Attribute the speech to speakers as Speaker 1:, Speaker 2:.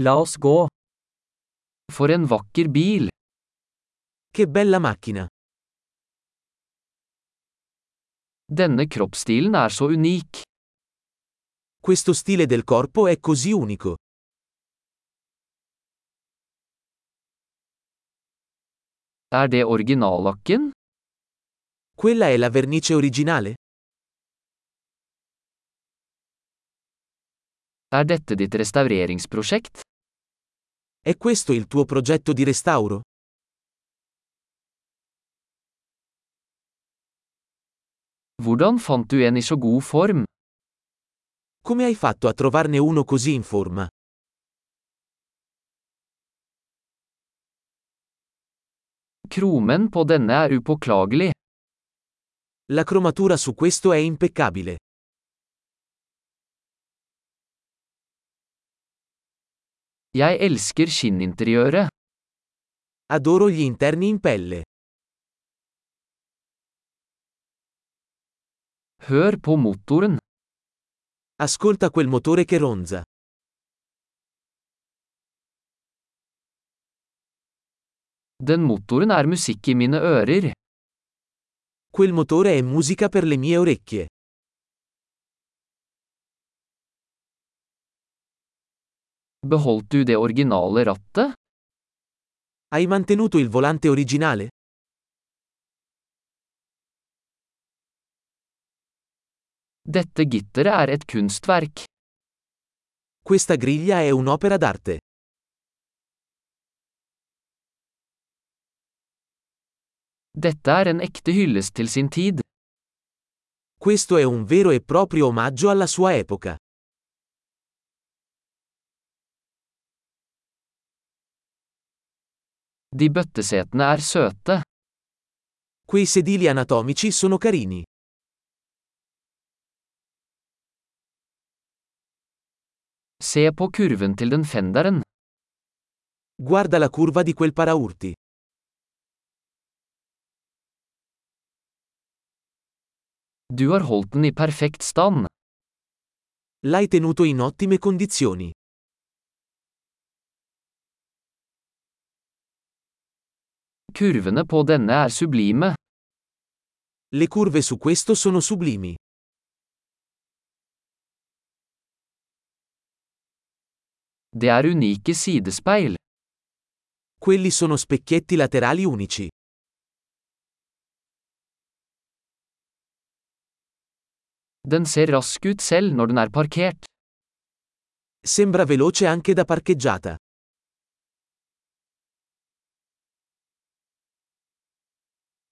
Speaker 1: La oss gå. For en vakker bil.
Speaker 2: Che bella macchina!
Speaker 1: Denne kroppsstilen er så unik.
Speaker 2: Questo stile del corpo è così unico.
Speaker 1: Er det originallakken?
Speaker 2: Quella è la vernice originale?
Speaker 1: Er dette ditt restaureringsprosjekt?
Speaker 2: È questo il tuo progetto di restauro?
Speaker 1: Hvordan fant du en i så god form?
Speaker 2: Come hai fatto a trovarne uno così in forma?
Speaker 1: Kromen på denne er upåklagelig.
Speaker 2: La cromatura su questo è impeccabile.
Speaker 1: Jeg elsker skinninteriøret.
Speaker 2: Adoro gli interni in pelle.
Speaker 1: Hør på motoren.
Speaker 2: Ascolta quel motore che ronza.
Speaker 1: Den motoren er musikk i mine ører.
Speaker 2: Quel motore è musica per le mie orecchie.
Speaker 1: Beholdt du det originale rattet?
Speaker 2: Hai mantenuto il volante originale?
Speaker 1: Dette gitteret er et kunstverk.
Speaker 2: Questa griglia è un'opera d'arte.
Speaker 1: Dette er en ekte hyllest til sin tid.
Speaker 2: Questo è un vero e proprio omaggio alla sua epoca.
Speaker 1: De bøttesetene er søte.
Speaker 2: Quei sedili anatomici sono carini.
Speaker 1: Se på kurven til den fenderen.
Speaker 2: Guarda la curva di quel paraurti.
Speaker 1: Du har holdt den i perfekt stand.
Speaker 2: L'hai tenuto in ottime condizioni.
Speaker 1: Kurvene på denne er sublime.
Speaker 2: Le curve su questo sono sublimi.
Speaker 1: Det er unike sidespeil.
Speaker 2: Quelli sono specchietti laterali unici.
Speaker 1: Den ser rask ut selv når den er parkert.
Speaker 2: Sembra veloce anche da parcheggiata.